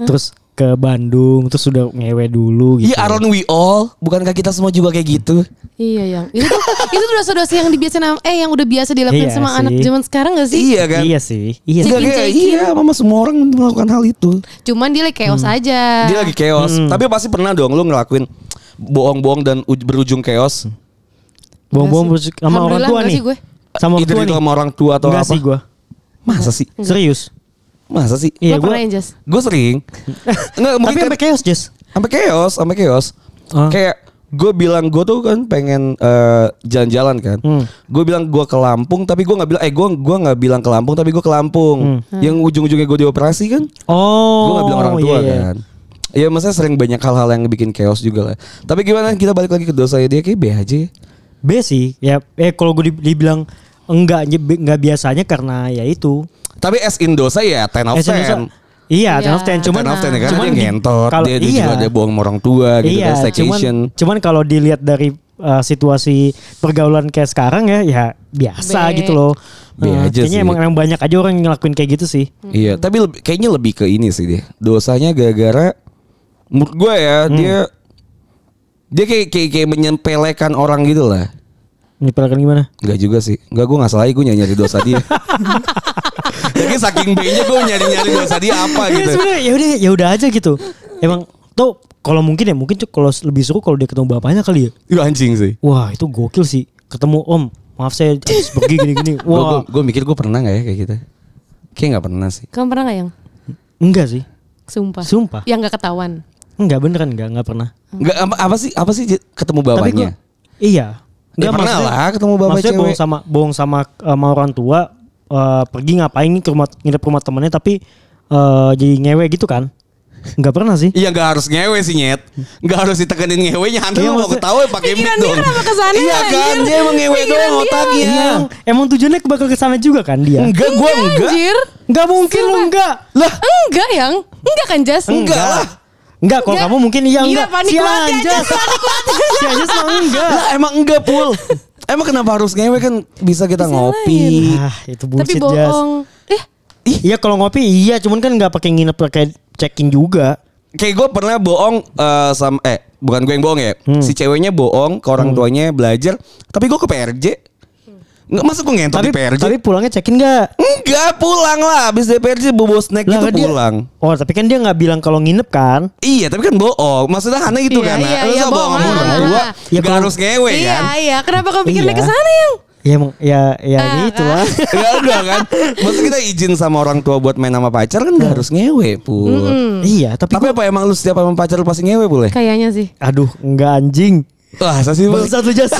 S1: Terus ke Bandung, terus udah ngewe dulu gitu.
S2: Iya Aaron we all, bukankah kita semua juga kayak gitu?
S3: Iya yang itu tuh itu tuh dosa-dosa yang dibiasain sama- eh yang udah biasa dilakuin
S1: Iya
S3: sama
S1: sih.
S3: anak zaman sekarang gak sih?
S2: Iya kan?
S1: Iya sih. Iya.
S2: Enggak,
S1: sih.
S2: kayak,
S3: Cekin-cekin.
S2: iya, mama semua orang melakukan hal itu. Hmm.
S3: Cuman dia lagi chaos
S1: Hmm.
S3: aja.
S2: Dia lagi chaos, tapi pasti pernah dong lu ngelakuin bohong-bohong dan uj- berujung chaos.
S1: Bohong-bohong
S3: Enggak sih.
S1: sama orang
S3: Alhamdulillah
S1: tua
S3: enggak
S1: nih.
S3: sih gue.
S1: Sama orang
S2: Either
S1: tua
S2: itu
S1: nih.
S2: sama orang tua atau
S1: Enggak
S2: apa?
S1: sih gue.
S2: Masa sih?
S1: Serius.
S2: Masa sih?
S1: Iya,
S3: Lo pernah
S1: gue.
S3: ya Jas?
S2: Gue sering. Enggak
S1: Tapi
S2: Eh, mungkin kan-
S1: sampai chaos, Jas.
S2: sampai chaos, sampai chaos.
S1: Ah.
S2: Kayak gue bilang gue tuh kan pengen eh, jalan-jalan kan.
S1: Hmm.
S2: Gue bilang gue ke Lampung tapi gue nggak bilang eh gue gua nggak bilang ke Lampung tapi gue ke
S1: Hmm.
S2: Lampung. Yang ujung-ujungnya gue dioperasi kan.
S1: Oh.
S2: gue gak bilang orang tua
S1: iya, iya.
S2: kan. Ya maksudnya sering banyak hal-hal yang bikin chaos juga lah. Tapi gimana kita balik lagi ke dosa dia kayak B aja. ya.
S1: B sih. Ya, eh kalau gue di- dibilang enggak bi- enggak biasanya karena ya itu.
S2: Tapi as in dosa ya 10 of
S1: Eh, serius,
S2: 10.
S1: Iya, ten of
S3: Iya.
S1: ten. Cuman,
S2: 10 of 10 kan
S1: cuman
S2: dia
S1: di-
S2: ngentot,
S1: kalau-
S2: dia, dia
S1: iya.
S2: juga ada bohong sama orang tua gitu
S1: iya,
S2: kan
S1: cuman,
S2: staycation.
S1: cuman kalau dilihat dari uh, situasi pergaulan kayak sekarang ya, ya biasa
S3: Be.
S1: gitu loh.
S2: Be
S1: Uh,
S2: aja
S1: kayaknya
S2: sih.
S1: emang, emang banyak aja orang yang ngelakuin kayak gitu sih.
S2: Iya, tapi lebih- kayaknya lebih ke ini sih dia. Dosanya gara-gara menurut gue ya
S1: Hmm.
S2: dia dia kayak kayak, kayak menyempelekan orang gitu lah.
S1: Ini pelakan gimana?
S2: Enggak juga sih. Enggak gue nggak salah gue nyari nyari dosa dia. Jadi saking B-nya gue nyari nyari dosa dia apa
S1: Iya
S2: gitu.
S1: sebenarnya ya udah ya udah aja gitu. Emang tuh kalau mungkin ya mungkin tuh kalau lebih seru kalau dia ketemu bapaknya kali ya.
S2: Itu anjing sih.
S1: Wah itu gokil sih. Ketemu Om, maaf saya habis pergi gini-gini. Wah
S2: Gue mikir gue pernah nggak ya kayak gitu? Kayak nggak pernah sih.
S3: Kamu pernah gak yang?
S1: enggak sih,
S3: Sumpah.
S1: Sumpah?
S3: Yang gak ketahuan.
S1: enggak beneran enggak enggak pernah.
S2: Nggak apa, apa sih apa sih j- ketemu
S1: Tapi gua,
S2: bapaknya?
S1: iya.
S2: Ya pernah lah ketemu bapak
S1: maksudnya
S2: cewek.
S1: bohong sama bohong sama eh, sama orang tua eh, pergi ngapain ke rumah nginep rumah temennya tapi eh, jadi ngewe gitu kan? Enggak pernah sih.
S2: Iya nggak harus ngewe sih nyet Nggak harus ditekenin ngewenya Hantu
S1: Iya,
S2: lu mau
S1: maksudnya-
S2: ketawa ya pakai mic
S3: Pikiran dia
S2: dong
S3: kenapa kesana
S2: Iya
S3: ya,
S2: kan
S3: anjir?
S2: Dia emang ngewe
S3: Pikiran
S2: doang
S3: dia.
S2: otaknya Iya.
S1: Emang, emang tujuannya bakal ke sana juga kan dia?
S2: Enggak gue
S3: Iya,
S2: enggak
S3: Anjir.
S1: Enggak mungkin lu
S3: Sumpah.
S1: enggak.
S2: Lah
S3: Enggak yang. Enggak kan Jas?
S2: enggak lah
S1: Enggak, kalau
S3: Enggak.
S1: kamu mungkin iya
S3: Gila,
S1: enggak.
S3: panik
S1: si
S3: banget ya,
S1: Anjas. si Anjas mah enggak.
S2: Lah emang enggak pul Emang kenapa harus ngewe kan Bisa kita
S3: Bisa
S2: ngopi
S1: Ah, itu
S3: Tapi
S1: bullshit Jas.
S3: bohong. Eh,
S1: Iya kalau ngopi iya, cuman kan enggak pakai nginep pakai checking juga.
S2: Kayak gue pernah bohong eh, sama, Eh bukan gue yang bohong ya Si ceweknya bohong Ke orang tuanya belajar Tapi gue ke PRJ Nggak, masa gue ngentot
S1: Tapi
S2: di PRJ
S1: tapi pulangnya check-in enggak?
S2: Enggak pulang lah Abis dari PRJ bobo snack
S1: Lah,
S2: gitu
S1: kan dia-
S2: pulang
S1: Oh, tapi kan dia nggak bilang kalau nginep kan?
S2: Iya tapi kan bohong Maksudnya Hana gitu
S3: Iya,
S2: kan
S3: iya,
S2: Lu
S3: iya,
S2: sama bohong sama
S3: bohong.
S2: orang
S3: Ah.
S2: tua
S1: Ya,
S2: Gak
S1: kalau-
S2: harus ngewe
S3: iya,
S2: kan
S3: iya. Kenapa kamu pikirnya
S1: Iya.
S3: ke sana yang?
S1: Ya emang ya ya
S3: Ah,
S1: gitu lah.
S2: Gak udah kan Maksudnya kita izin sama orang tua Buat main sama pacar kan gak harus ngewe Pul
S3: ah.
S1: Iya, tapi,
S2: Tapi apa emang lu setiap sama pacar lu pasti ngewe boleh?
S3: Kayaknya sih.
S1: aduh enggak anjing.
S2: Wah masa sih Pul?
S1: Bangsat lu jas.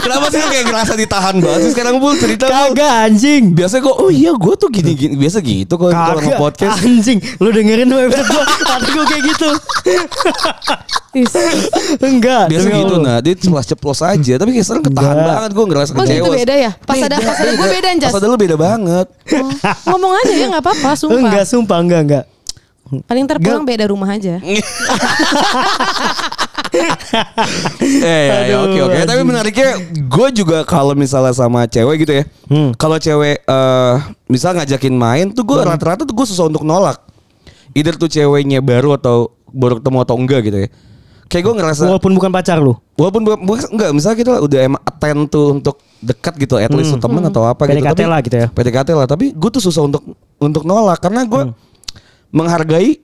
S2: Kenapa sih lu kayak ngerasa ditahan banget sih Sekarang Pul cerita Pul.
S1: Kagak anjing.
S2: Biasanya kok Oh iya gue tuh gini-gini Biasa gitu kalau kalau
S1: Kagak
S2: nge-podcast
S1: anjing. Lu dengerin dong episode gua. Kata gua kayak gitu.
S3: Is.
S1: Enggak.
S2: Biasa
S1: demi
S2: gitu
S1: Allah.
S2: nah Dia ceplos-ceplos aja Tapi kayak sekarang ketahan
S1: Enggak.
S2: banget Gue ngerasa
S3: Oh, gitu
S2: kecewa
S3: beda ya? Pas ada pas ada gue beda Jas.
S2: Pas ada lu beda banget
S3: Oh, Ngomong aja ya nggak apa-apa, sumpah.
S1: Enggak sumpah enggak enggak.
S3: Paling terpulang beda rumah aja.
S2: Eh, ya, ya,
S1: Aduh,
S2: oke oke. Tapi
S1: anjing.
S2: menariknya gue juga kalau misalnya sama cewek gitu ya.
S1: Hmm.
S2: Kalau cewek eh misal ngajakin main tuh gue rata-rata tuh gue susah untuk nolak. Either tuh ceweknya baru atau baru ketemu atau enggak gitu ya. kayak gue ngerasa
S1: Walaupun bukan pacar lu.
S2: walaupun bukan- bukan- enggak misalnya kita udah emang attend tuh untuk dekat gitu at least
S1: Hmm.
S2: tuh teman atau apa gitu
S1: PDKT
S2: tapi-
S1: lah gitu ya.
S2: PDKT lah tapi gue tuh susah untuk untuk nolak karena gue
S1: Hmm.
S2: menghargai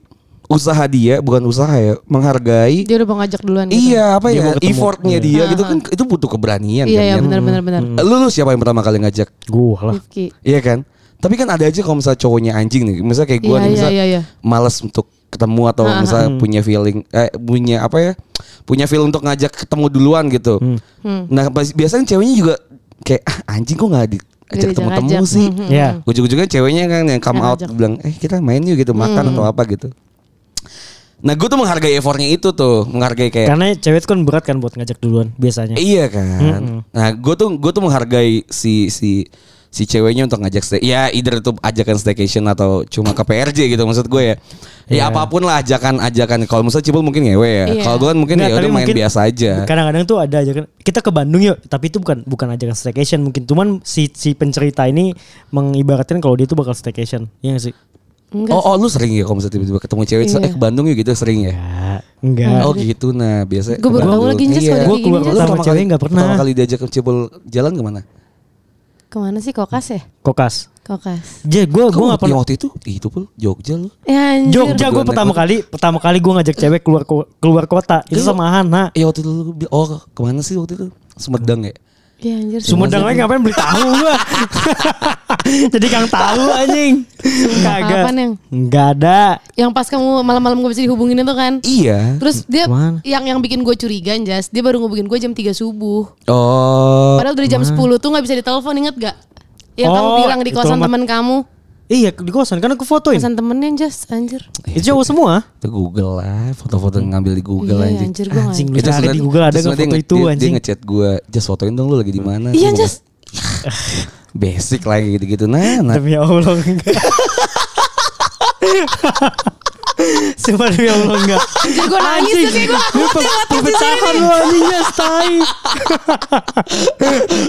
S2: usaha dia bukan usaha ya menghargai
S3: Dia udah mau ngajak duluan gitu.
S2: iya apa
S1: Dia mau
S2: ya
S1: ketemu.
S2: effortnya
S1: Iya.
S2: dia gitu
S3: Aha.
S2: kan itu butuh keberanian
S3: Iya, iya
S2: kan, Yan?
S3: benar benar benar.
S2: Lu, lu siapa yang pertama kali ngajak
S1: Gua hmm, lah.
S3: Rifki.
S2: Iya kan? Tapi kan ada aja kalau misalnya cowoknya anjing nih. Misalnya kayak gue
S3: Iya,
S2: nih
S3: iya,
S2: misalnya
S3: iya, iya.
S2: males untuk ketemu atau
S3: Ah, ah,
S2: misalnya punya feeling eh punya apa ya? Punya feel untuk ngajak ketemu duluan gitu.
S3: Hmm.
S2: Nah, pas- biasanya ceweknya juga kayak ah, anjing kok nggak diajak
S3: Diajak-ajak.
S2: ketemu-temu sih.
S3: Mhm.
S1: Iya.
S2: Ujung-ujungnya ceweknya kan yang come
S3: Yang
S2: out
S3: ngajak. Hmm.
S2: bilang, "Eh, kita main yuk gitu, makan atau apa gitu." Nah, gue tuh menghargai effortnya itu tuh, menghargai kayak
S1: Karena cewek itu kan berat kan buat ngajak duluan biasanya.
S2: Iya kan.
S1: Mm-mm.
S2: Nah, gue tuh gue tuh menghargai si si si ceweknya untuk ngajak stay. Ya, either itu ajakan staycation atau cuma ke PRJ gitu maksud gue ya. Ya
S1: Iya.
S2: apapun lah ajakan-ajakan. Kalau misalnya Cipul mungkin ngewe ya.
S3: Iya.
S2: Kalau gue kan mungkin
S1: Nggak,
S2: ya udah
S1: tapi
S2: main
S1: mungkin
S2: biasa aja.
S1: Kadang-kadang tuh ada aja kan kita ke Bandung yuk, tapi itu bukan bukan ajakan staycation mungkin. Cuman si si pencerita ini mengibaratkan kalau dia tuh bakal staycation. Iya gak sih?
S3: Enggak.
S2: Oh, oh, lu sering ya kalau misalnya tiba-tiba ketemu cewek
S3: Iya.
S2: eh, ke Bandung yuk gitu sering ya.
S1: Enggak. Enggak.
S2: Oh gitu nah biasanya.
S3: Gua baru
S2: ke
S3: tahu
S2: Bandung.
S3: lagi, Jas,
S2: Iya.
S3: kalau
S1: Gua keluar
S2: Lu
S3: Iya,
S1: kota sama
S2: pertama
S1: cewek
S2: kali-
S1: nggak pernah.
S2: Pertama kali diajak ke Cipul jalan kemana?
S3: Kemana sih kokas ya?
S1: Kokas.
S3: Kokas.
S1: Jadi gue gue
S2: Kok
S1: nggak pernah.
S2: waktu itu itu pul Jogja lu.
S3: Ya anjir.
S1: Jogja gue
S2: Gua
S1: pertama
S2: naik-
S1: kali pertama kali gue ngajak cewek keluar ko- keluar kota itu
S2: Iya.
S1: sama Hana.
S2: Iya waktu itu lu bi- oh kemana sih waktu itu? Sumedang ya.
S3: Ya anjir.
S1: Sumedang lagi ngapain beli tahu gua. Jadi kang tahu anjing. Kagak.
S3: Apaan yang?
S1: Enggak ada.
S3: Yang pas kamu malam-malam gak bisa dihubungin itu kan?
S2: Iya.
S3: Terus dia
S1: Kemana?
S3: yang yang bikin gue curiga Jas, dia baru ngubungin gue jam 3 subuh.
S2: Oh.
S3: Padahal dari jam 10 tuh nggak bisa ditelepon, inget gak? Yang kamu
S1: Eh, Oh,
S3: bilang di
S1: itu
S3: kosan
S1: amat.
S3: teman kamu.
S1: Iya di kosan kan aku fotoin.
S3: Kosan temennya Jas, anjir.
S1: Itu cowok semua.
S2: Itu Google lah, foto-foto ngambil di Google
S3: Iya,
S2: anjing.
S3: anjir gue
S1: Anjing.
S3: anjir.
S1: Lu cari di Google ada
S2: terus
S1: nggak
S2: nanti
S1: foto
S2: dia-
S1: itu,
S2: dia- Dia
S1: anjing?
S2: ngechat gue, "Jas fotoin dong lu lagi di mana?"
S3: Iya,
S2: Terus
S3: Jas.
S2: gua, Basic lagi gitu-gitu. Nah, nah.
S1: Demi Allah enggak. Sumpah demi Allah enggak.
S3: Anjir gue nangis
S1: Anjing.
S3: ya kayak gue.
S1: Lu pe- perpecahan lu ya, anjingnya stai.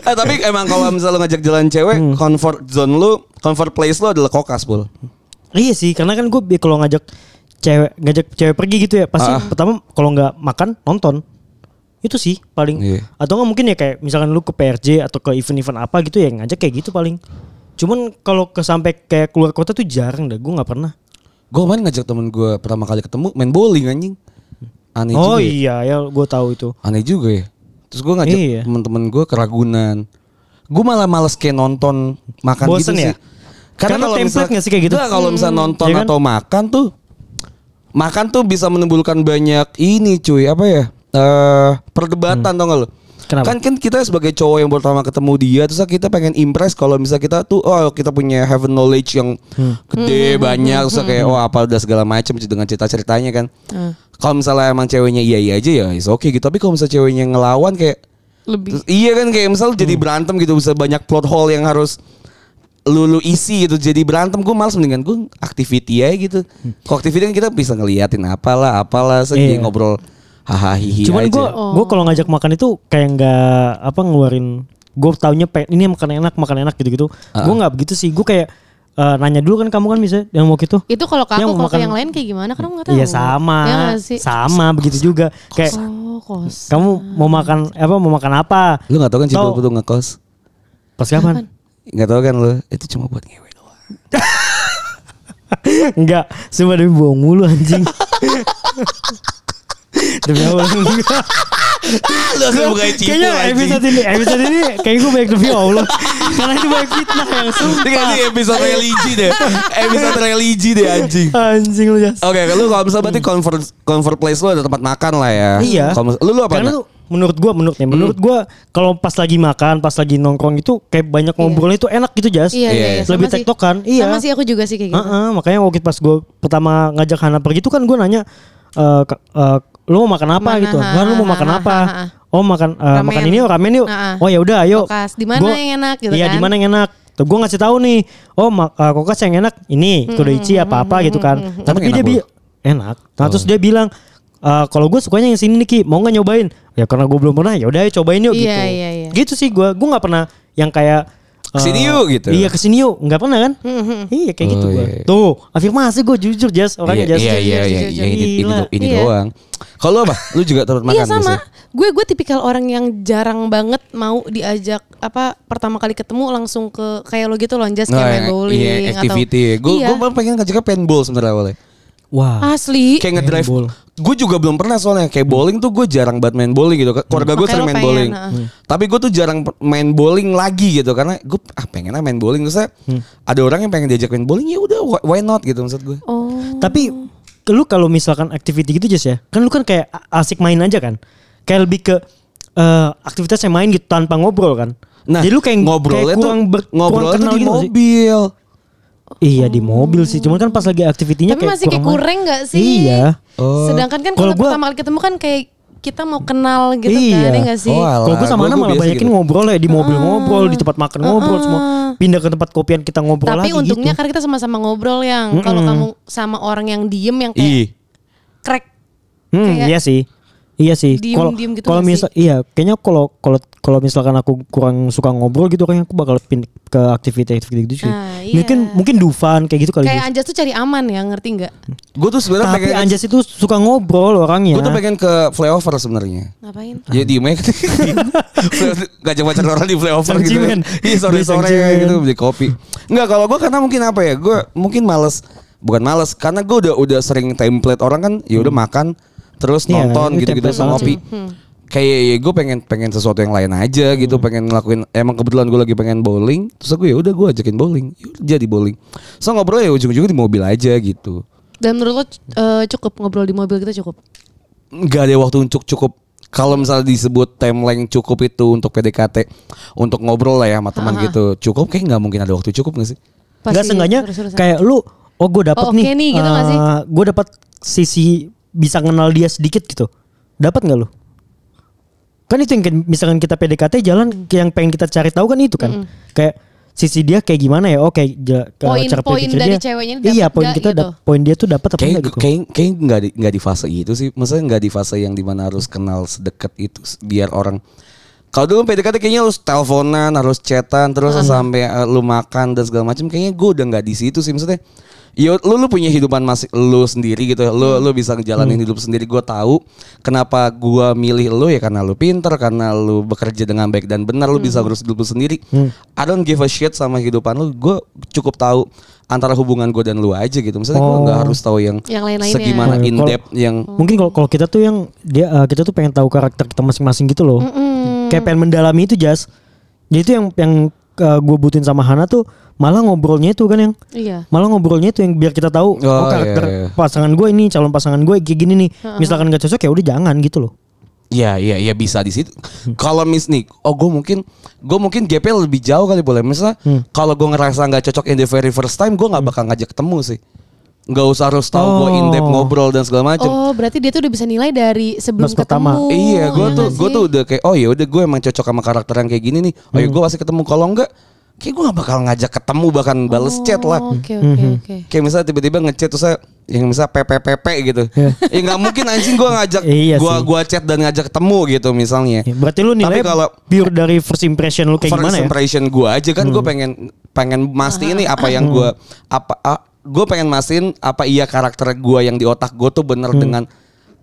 S2: Eh, tapi emang kalau misalnya lu ngajak jalan cewek,
S1: Hmm.
S2: comfort zone lu, comfort place lu adalah kokas, Bul.
S1: Iya sih karena kan gue kalau ngajak cewek ngajak cewek pergi gitu ya pasti
S2: Ah.
S1: pertama kalau nggak makan nonton itu sih paling
S2: Iya.
S1: atau nggak mungkin ya kayak misalkan lu ke PRJ atau ke event-event apa gitu ya ngajak kayak gitu paling cuman kalau ke sampai kayak keluar kota tuh jarang dah gue nggak pernah
S2: Gue kemarin ngajak temen gue pertama kali ketemu main bowling anjing. Aneh
S1: oh
S2: juga. ya.
S1: iya ya gue tahu itu
S2: Aneh juga ya. Terus gue ngajak
S1: Iya.
S2: temen-temen gue ke Ragunan. Gue malah males kayak nonton makan
S1: Bosen
S2: gitu
S1: ya?
S2: sih.
S1: Karena
S2: Karena, kalau
S1: template
S2: misalnya-
S1: nggak sih kayak gitu?
S2: Nggak, kalau misalnya
S3: Hmm.
S2: nonton
S1: Iya kan?
S2: atau makan tuh makan tuh bisa menimbulkan banyak ini cuy apa ya? eh perdebatan tau gak lo?
S1: Hmm. Kenapa?
S2: Kan kan kita sebagai cowok yang pertama ketemu dia terus kita pengen impress kalau misalnya kita tuh oh kita punya have knowledge yang
S1: Hmm.
S2: gede banyak terus kayak oh apa udah segala macam dengan cerita-ceritanya kan.
S3: Hmm.
S2: Kalau misalnya emang ceweknya iya iya aja ya is oke gitu tapi kalau misalnya ceweknya ngelawan kayak
S3: Lebih.
S2: Terus, iya kan kayak misal jadi
S1: Hmm.
S2: berantem gitu bisa banyak plot hole yang harus lu, lu isi gitu jadi berantem gue males mendingan gue activity aja gitu. Kalau activity kan kita bisa ngeliatin apalah apalah
S1: Hmm.
S2: sedih
S1: Iya.
S2: ngobrol hahaha hihi
S1: Cuman
S2: aja.
S1: gue gue kalau ngajak makan itu kayak nggak apa ngeluarin gue taunya pengen ini makan enak makan enak gitu gitu.
S2: Ah.
S1: Gue nggak begitu sih. Gue kayak eh, nanya dulu kan kamu kan bisa yang mau gitu.
S3: Itu kalau ke
S1: Yang
S3: aku, kalau ke
S1: makan-
S3: yang lain kayak gimana? Karena nggak Iya, tahu.
S1: Iya sama,
S3: Ya nggak sih?
S1: sama begitu juga. Kayak
S3: Oh kos.
S1: kamu mau makan apa mau makan apa?
S2: lu nggak tau kan
S1: Tau.
S2: cipul putu ngekos?
S1: Pas kapan?
S2: Nggak tau kan lu itu cuma buat ngewe doang.
S1: Enggak, cuma demi bohong mulu anjing. demi Allah. enggak.
S2: Lu harus bukain cipul
S1: Kayaknya episode ini, episode ini kayak gue banyak demi Allah. Karena itu banyak fitnah ya, yang sumpah.
S2: Ini kayaknya episode religi deh. Episode religi deh Iya, anjing.
S1: Anjing lu jas.
S2: Oke, lu kalau misalnya berarti comfort comfort place lu ada tempat makan lah ya.
S1: Hmm. Iya.
S2: Kalau mis- lu lu apa? Hmm.
S1: Karena
S2: Nak?
S1: tuh menurut gua menurut nih, menurut gua kalau pas lagi makan, pas lagi nongkrong itu kayak banyak ngobrol itu enak gitu, Jas.
S3: Iya, iya, iya.
S1: Lebih
S3: Sama sih.
S1: tektokan, iya.
S3: Sama sih aku juga sih kayak gitu.
S1: Heeh, makanya waktu pas gua pertama ngajak Hana pergi itu kan gua nanya eh ke- eh, lu mau makan apa
S3: Mana,
S1: gitu.
S3: ha,
S1: Kan lu mau
S3: ha,
S1: makan
S3: ha,
S1: apa?
S3: ha, ha.
S1: Oh, makan eh,
S3: Ramen.
S1: makan ini yuk, ramen yuk.
S3: Ha, ha.
S1: Oh ya udah, ayo.
S3: Kokas, di mana yang enak gitu
S1: Iya,
S3: kan?
S1: di mana yang enak. Tuh gua ngasih tahu nih. Oh, mak eh, kokas yang enak ini, kudoichi apa-apa gitu kan. Tapi
S2: Emang
S1: dia
S2: enak, Oh.
S1: bi- enak. Nah, terus dia bilang "Eh, kalau gue sukanya yang sini nih Ki, mau nggak nyobain? Ya karena gue belum pernah, ya udah ayo cobain yuk
S3: Iya,
S1: gitu.
S3: iya, iya.
S1: Gitu sih gue, gue nggak pernah yang kayak
S2: Kesini
S1: eh,
S2: yuk, gitu.
S1: Iya kesini yuk, nggak pernah kan?
S3: Hmm.
S1: Iya kayak gitu
S2: Oh,
S1: gua.
S2: iya, iya.
S1: Tuh afirmasi gue jujur Jas
S2: Iya,
S1: orangnya Jas.
S2: iya, iya, iya,
S3: jujur,
S2: iya, ini, ini,
S1: Gila.
S2: do- ini
S3: Iya.
S2: doang. Kalau lu apa? Lu juga turut makan
S3: Iya sama.
S2: biasanya?
S3: Gue gue tipikal orang yang jarang banget mau diajak apa pertama kali ketemu langsung ke kayak lo gitu loh just kayak main
S2: Oh,
S3: bowling
S2: iya, activity. Gue
S3: Atau, iya.
S2: gue pengen ngajaknya paintball sebenarnya awalnya.
S1: Wah.
S3: asli.
S2: Kayak ngedrive.
S1: Paintball.
S2: Gue juga belum pernah soalnya kayak bowling tuh gue jarang banget main bowling gitu. Keluarga gue
S3: Makanya
S2: sering
S3: lo
S2: main
S3: pengen,
S2: bowling.
S3: ah.
S1: Hmm.
S2: Tapi gue tuh jarang pe- main bowling lagi gitu karena gue ah pengen ah main bowling terus saya,
S1: Hmm.
S2: ada orang yang pengen diajak main bowling ya udah why- why not gitu maksud gue.
S3: Oh.
S1: Tapi lu kalau misalkan activity gitu Jas ya, kan lu kan kayak a- asik main aja kan? Kayak lebih ke eh, aktivitas yang main gitu tanpa ngobrol kan? Jadi lu kayak
S2: Nah, ngobrolnya
S1: kayak kurang
S2: tuh
S1: ber,
S2: ngobrolnya
S1: kurang
S2: tuh
S1: kenal
S2: di
S1: gitu nggak sih?
S2: mobil.
S1: Iya di mobil sih, cuman kan pas lagi aktivitinya
S3: Tapi
S1: kayak
S3: masih kayak
S1: main.
S3: kurang nggak sih?
S1: Iya.
S2: Oh.
S3: Sedangkan kan
S1: Kalau
S3: kalau
S1: gua-
S3: pertama kali ketemu kan kayak kita mau kenal gitu
S1: Iya.
S3: kan, ya nggak sih?
S2: Oh, alah,
S1: Kalau gue sama
S2: gua-
S1: Ana
S2: gua
S1: malah
S2: biasa
S1: banyakin
S2: gitu.
S1: ngobrol ya di mobil ngobrol, di tempat makan ngobrol
S3: Ah.
S1: semua. Pindah ke tempat kopian kita ngobrol
S3: Tapi
S1: lagi
S3: untungnya
S1: gitu.
S3: karena kita sama-sama ngobrol yang kalau kamu sama orang yang diem yang
S2: Ih,
S3: kayak crack
S1: Hmm,
S3: kayak
S1: iya sih. Iya sih.
S3: diem-
S1: Kalau
S3: diem gitu
S1: kalau
S3: nggak
S1: misal iya, kayaknya kalau kalau kalau misalkan aku kurang suka ngobrol gitu kayaknya aku bakal pin ke aktivitas-aktivitas gitu sih.
S3: Ah, iya.
S1: Mungkin mungkin Dufan kayak gitu kali. Jas.
S3: kayak Anjas tuh cari aman ya, ngerti nggak?
S2: gue tuh sebenarnya
S1: Tapi
S2: pengen
S1: Anjas itu suka ngobrol orangnya.
S2: gue tuh pengen ke flyover sebenarnya.
S3: Ngapain?
S1: Ah.
S2: Ya di make ngajak pacar orang di flyover gitu.
S1: Sancimen.
S2: Iya sore sore
S1: Sancimen.
S2: gitu beli kopi. Enggak kalau gue karena mungkin apa ya? Gue mungkin males bukan males karena gue udah udah sering template orang kan ya udah makan terus
S1: Hmm. Iya,
S2: nonton
S1: ini
S2: gitu-gitu
S1: template banget Hmm.
S2: sama kopi. Kayak ya gue pengen pengen sesuatu yang lain aja gitu, pengen ngelakuin emang kebetulan gue lagi pengen bowling, terus gue ya udah gue ajakin bowling, Yaudah, jadi bowling. So ngobrol ya ujung-ujungnya di mobil aja gitu.
S3: Dan menurut lo eh, cukup ngobrol di mobil kita cukup.
S2: nggak ada waktu untuk cukup kalau misalnya disebut timeline cukup itu untuk PDKT untuk ngobrol lah ya sama teman gitu cukup kayak nggak mungkin ada waktu cukup nggak sih
S1: Enggak seenggaknya
S3: terus-terusan.
S1: kayak lu oh gue dapat
S3: Oh, oke
S1: nih.
S3: nih, gitu nggak sih?
S1: gue dapat sisi bisa kenal dia sedikit gitu. Dapat nggak lu? Kan itu yang ke- misalkan kita PDKT jalan yang pengen kita cari tahu kan itu kan. Kayak sisi dia kayak gimana ya? Oke, ja- ke-
S3: Poin-
S1: cara
S3: poin
S1: berpikir
S3: dari
S1: dia.
S3: ceweknya dapet
S1: Iya, poin
S3: nggak
S1: kita
S3: gitu?
S1: dap- poin dia tuh dapat apa
S2: kayak
S1: enggak gitu.
S2: kayak kayak nggak di nggak di fase itu sih maksudnya nggak di fase yang dimana harus kenal sedekat itu s- biar orang kalau dulu PDKT kayaknya harus teleponan harus chatan terus sampai eh, lu makan dan segala macam kayaknya gue udah nggak di situ sih maksudnya Ya lu lu punya hidupan masih lu sendiri gitu. Lu lu bisa ngejalanin hidup sendiri. Gue tahu kenapa gua milih lu ya karena lu pinter, karena lu bekerja dengan baik dan benar, lu bisa ngurus hidup lu sendiri. I don't give a shit sama kehidupan lu. Gue cukup tahu antara hubungan gue dan lu aja gitu. Misalnya gue
S1: Oh.
S2: nggak harus tahu yang
S3: Yang lain-lainnya.
S2: segimana
S1: Nah,
S2: in
S1: kalau-
S2: depth yang
S1: Mungkin kalau kalau kita tuh yang dia eh, kita tuh pengen tahu karakter kita masing-masing gitu loh. Kayak pengen mendalami itu Jas. Jadi itu yang yang gue butuhin sama Hana tuh malah ngobrolnya itu kan yang
S3: Iya.
S1: malah ngobrolnya itu yang biar kita tahu oh,
S2: Oh,
S1: karakter
S2: iya, iya.
S1: pasangan gue ini calon pasangan gue kayak gini nih misalkan nggak cocok ya udah jangan gitu loh
S2: ya ya ya bisa di situ.
S1: Hmm.
S2: Kalau mis nih, oh gue mungkin gue mungkin GP lebih jauh kali boleh. Misalnya
S1: Hmm.
S2: kalau gue ngerasa nggak cocok in the very first time, gue nggak bakal ngajak ketemu sih. Nggak usah harus tahu gue in depth
S1: Oh.
S2: ngobrol dan segala macam.
S3: Oh, berarti dia tuh udah bisa nilai dari sebelum
S1: Mas pertama.
S3: ketemu.
S2: Iya, gue
S3: ya
S2: tuh
S3: nggak
S2: gue
S3: sih?
S2: tuh udah kayak oh ya udah gue emang cocok sama karakter yang kayak gini nih. Oh ya
S1: Hmm.
S2: gue pasti ketemu kalau enggak kayak gue gak bakal ngajak ketemu bahkan bales chat lah.
S3: Oh, Oke, oke,
S1: Mhm.
S3: oke.
S2: Kayak misalnya tiba-tiba ngechat terus saya yang misalnya PPPP gitu. ya nggak mungkin anjing gue ngajak
S1: Iya
S2: gue
S1: sih.
S2: gua chat dan ngajak ketemu gitu misalnya.
S1: Ya, berarti lu nilai
S2: Tapi kalau
S1: pure dari first impression lu kayak
S2: first
S1: gimana ya Hmm.
S2: impression gue aja kan gue pengen pengen mastiin nih apa yang gue apa gue pengen mastiin apa iya karakter gue yang di otak gue tuh bener
S1: Hmm.
S2: dengan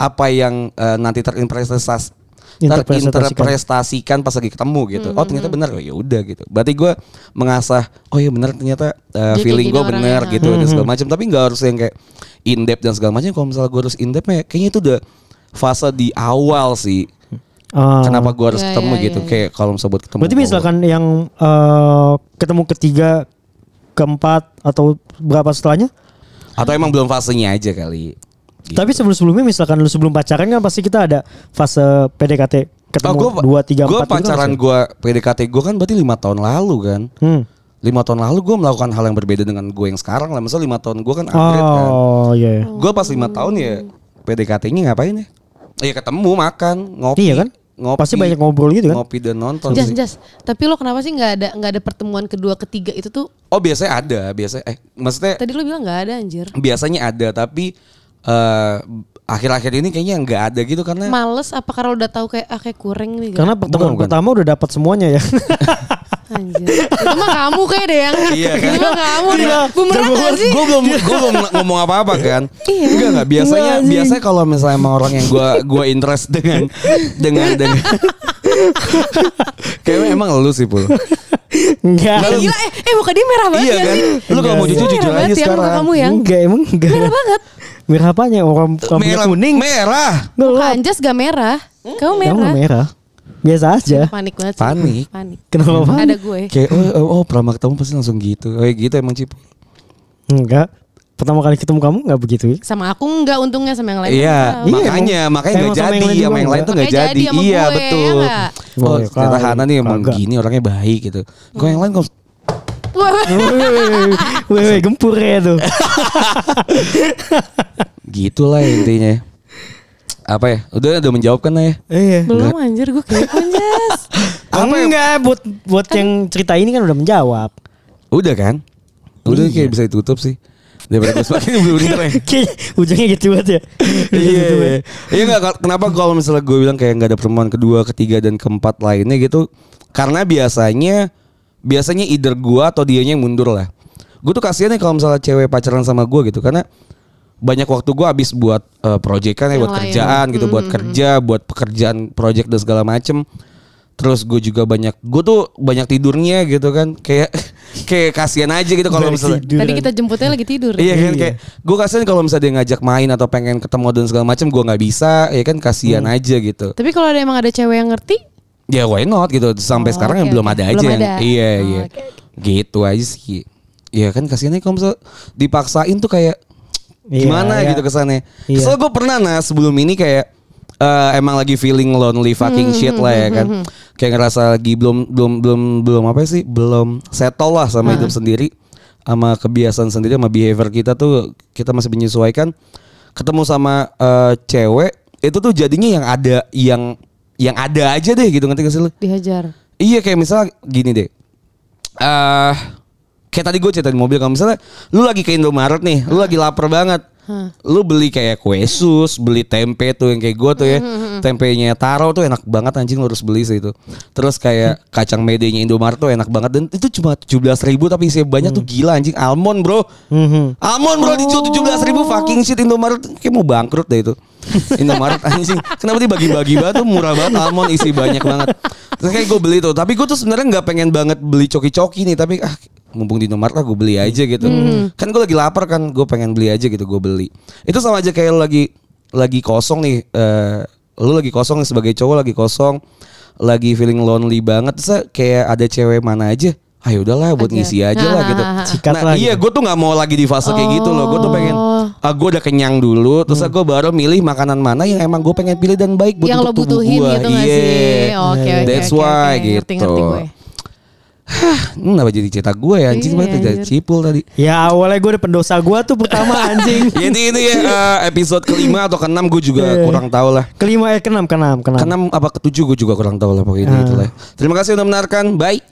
S2: apa yang eh, nanti terinterpretas
S1: Interpretasikan.
S2: terinterpretasikan pas lagi ketemu gitu
S1: Hmm,
S2: oh ternyata bener oh, ya udah gitu berarti gue mengasah oh ya bener ternyata eh,
S3: Dia
S2: feeling
S3: kayak
S2: gue
S3: gini
S2: bener
S3: orangnya.
S1: Hmm,
S2: gitu dan segala macam tapi nggak harus yang kayak in depth dan segala macam kalau misalnya gue harus in depth ya kayaknya itu udah fase di awal sih
S1: Ah.
S2: kenapa gue harus
S3: Iya,
S2: ketemu
S3: iya,
S2: gitu
S3: iya,
S2: kayak kalau sebut ketemu
S1: berarti
S2: gua-
S1: misalkan yang eh, ketemu ketiga keempat atau berapa setelahnya
S2: Atau emang belum fasenya aja kali. Gitu.
S1: tapi sebelum sebelumnya misalkan lu sebelum pacaran kan pasti kita ada fase PDKT ketemu
S2: gua-
S1: dua tiga
S2: gua
S1: empat gitu kan
S2: pacaran
S1: pasti.
S2: gue PDKT gue kan berarti lima tahun lalu kan.
S1: Hmm.
S2: Lima tahun lalu gue melakukan hal yang berbeda dengan gue yang sekarang lah. Misalnya lima tahun gue kan upgrade kan.
S1: oh iya iya.
S2: Gue pas lima tahun ya PDKT-nya ngapain ya? Ya ketemu makan ngopi.
S1: Iya kan?
S2: Ngopi.
S1: Pasti banyak ngobrol gitu kan?
S2: Ngopi dan nonton.
S3: Jas,
S2: sih.
S3: jas. Tapi lo kenapa sih nggak ada nggak ada pertemuan kedua ketiga itu tuh?
S2: Oh biasanya ada biasanya. Eh maksudnya
S3: Tadi lo bilang nggak ada anjir.
S2: biasanya ada tapi eh, akhir-akhir ini kayaknya nggak ada gitu karena
S3: Males apa karena lo udah tahu kayak ah, kayak kurang nih. gitu?
S2: kan?
S1: karena pertemuan
S2: bukan.
S1: pertama udah dapat semuanya ya
S3: Anjir. Itu mah kamu kayak deh yang.
S2: Iya, kan?
S3: Itu mah kamu deh.
S1: Iya.
S3: Bumerang
S1: Jago
S3: gak
S1: banget.
S3: sih?
S2: gue belum gue belum ngomong apa-apa kan
S3: Iya.
S2: enggak enggak biasanya
S1: Enggak, anjing.
S2: biasanya kalau misalnya emang orang yang gue gue interest dengan dengan dengan kayaknya emang lu sih pul
S1: Enggak.
S3: Eh, Gila eh, eh muka dia merah banget
S2: iya
S3: gak
S2: kan
S3: sih?
S2: lu kalau mau
S1: Enggak,
S2: jujur
S3: Merah
S2: jujur
S3: banget
S2: aja
S3: ya, muka
S2: sekarang
S3: kamu ya.
S1: Enggak emang enggak.
S3: Merah banget.
S1: Merah apanya? Orang rambutnya
S2: merah
S1: kuning.
S2: merah
S3: Muka
S1: Gelap.
S3: Anjas Kan, gak merah.
S2: Hmm.
S3: Kamu
S1: Kamu
S3: merah.
S1: merah. Biasa aja.
S3: Panik banget. sih.
S2: Panik.
S3: Panik.
S1: Kenapa panik?
S3: Ada gue.
S2: kayak oh, oh, oh pertama ketemu pasti langsung gitu oh gitu emang cipu
S1: Enggak. Pertama kali ketemu kamu enggak begitu. ya?
S3: Sama aku enggak untungnya sama yang lain.
S2: Iya,
S1: Iya,
S2: makanya
S1: emang.
S2: makanya nggak
S1: Emang sama
S2: jadi
S1: yang lain
S2: sama
S1: juga
S2: yang lain tuh nggak
S3: nggak
S2: jadi.
S3: jadi sama
S2: Iya
S3: gue,
S2: betul.
S3: ya nggak?
S2: Oh,
S1: Boleh
S2: ternyata
S1: kali.
S2: Hana nih emang
S1: Kagak.
S2: gini orangnya baik gitu. Kok yang lain kok
S3: Wah,
S1: Wih, wih, wih, gempur ya tuh.
S2: gitulah intinya. Apa ya? Udah udah menjawab kan ya?
S1: Iya.
S3: Belum anjir gue kayak Anjas.
S2: Apa ya?
S1: enggak buat buat yang cerita ini kan udah menjawab.
S2: Udah kan? Udah kayak bisa ditutup sih. Daripada gue semakin belum ya.
S1: Kayaknya ujungnya gitu banget ya.
S2: Iya, iya. iya nggak kenapa kalau misalnya gue bilang kayak nggak ada pertemuan kedua, ketiga dan keempat lainnya gitu, karena biasanya biasanya either gue atau dianya yang mundur lah. Gue tuh kasihan ya kalau misalnya cewek pacaran sama gue gitu, karena banyak waktu gue habis buat eh, proyekan ya,
S3: Yang
S2: buat
S3: lain. Hmm,
S2: kerjaan gitu, buat kerja, buat pekerjaan, proyek dan segala macem. Terus gue juga banyak, gue tuh banyak tidurnya gitu kan, kayak kayak kasihan aja gitu kalau
S1: Balik
S2: misalnya.
S1: tiduran.
S3: Tadi kita jemputnya lagi tidur.
S2: Iya kan
S1: Iya.
S2: kayak gue kasihan kalau misalnya dia ngajak main atau pengen ketemu dan segala macam gue nggak bisa ya kan kasihan
S3: Hmm.
S2: aja gitu.
S3: Tapi kalau ada emang ada cewek yang ngerti,
S2: Ya why not gitu sampai
S3: Oh,
S2: sekarang yang
S3: oke,
S2: belum
S3: oke.
S2: ada
S3: Belum
S2: aja yang
S3: ada.
S2: iya
S3: Oh,
S2: iya
S3: oke,
S2: gitu aja sih. Iya kan kasihannya kalau misalnya dipaksain tuh kayak
S1: Iya,
S2: gimana
S1: iya.
S2: gitu kesannya.
S1: Iya.
S2: Soalnya gue pernah nah sebelum ini kayak eh, emang lagi feeling lonely fucking shit lah ya kan. Kayak ngerasa lagi belum belum belum belum apa sih? Belum settle lah sama hidup sendiri sama kebiasaan sendiri sama behavior kita tuh kita masih menyesuaikan. Ketemu sama eh, cewek itu tuh jadinya yang ada yang yang ada aja deh gitu ngerti gak sih lu?
S3: dihajar.
S2: Iya kayak misalnya gini deh. Eh kayak tadi gue cerita di mobil kalau misalnya lu lagi ke Indomaret nih, lu lagi lapar banget. Lu beli kayak kue sus, beli tempe tuh yang kayak gue tuh ya. Tempenya taro tuh enak banget anjing lu harus beli sih itu. Terus kayak kacang medenya Indomaret tuh enak banget dan itu cuma 17.000 ribu tapi isinya banyak tuh gila anjing almond bro. Almond bro dijual 17.000 ribu fucking shit Indomaret kayak mau bangkrut deh itu. Indomaret anjing kenapa dia bagi-bagi banget tuh murah banget almond isi banyak banget. Terus kayak gue beli tuh tapi gue tuh sebenarnya nggak pengen banget beli coki-coki nih tapi ah mumpung di Indomaret lah gue beli aja gitu. Kan gue lagi lapar kan gue pengen beli aja gitu gue beli. Itu sama aja kayak lu lagi lagi kosong nih eh, lu lagi kosong sebagai cowok lagi kosong lagi feeling lonely banget Terus kayak ada cewek mana aja ayo udahlah buat
S3: Oke.
S2: ngisi aja lah gitu.
S1: Sikat
S2: nah,
S1: lah
S2: iya
S1: gitu.
S2: gue tuh nggak mau lagi di fase kayak gitu loh. Gue tuh pengen,
S3: Oh. Hmm.
S2: ah, gue udah kenyang dulu, terus gue baru milih makanan mana yang emang gue pengen pilih dan baik buat
S3: yang lo
S2: untuk tubuh
S3: butuhin
S2: gua.
S3: gitu nggak sih?
S2: Iya.
S3: Oke, oke.
S2: That's
S3: oke,
S2: why
S3: oke.
S2: gitu.
S3: Ngerti, ngerti gue.
S2: Hmm, Kenapa jadi cerita gue ya anjing
S3: Iya,
S2: banget tidak
S3: anjir.
S2: cipul tadi.
S1: Ya awalnya gue udah pendosa gue tuh pertama anjing.
S2: Ya, Ini ini ya eh, episode kelima atau keenam gue
S3: Iya,
S2: juga kurang tahu lah.
S1: Kelima eh keenam keenam keenam.
S2: Keenam apa ketujuh gue juga kurang tahu lah pokoknya
S1: Ah.
S2: itulah. Terima kasih udah menarikan. Bye.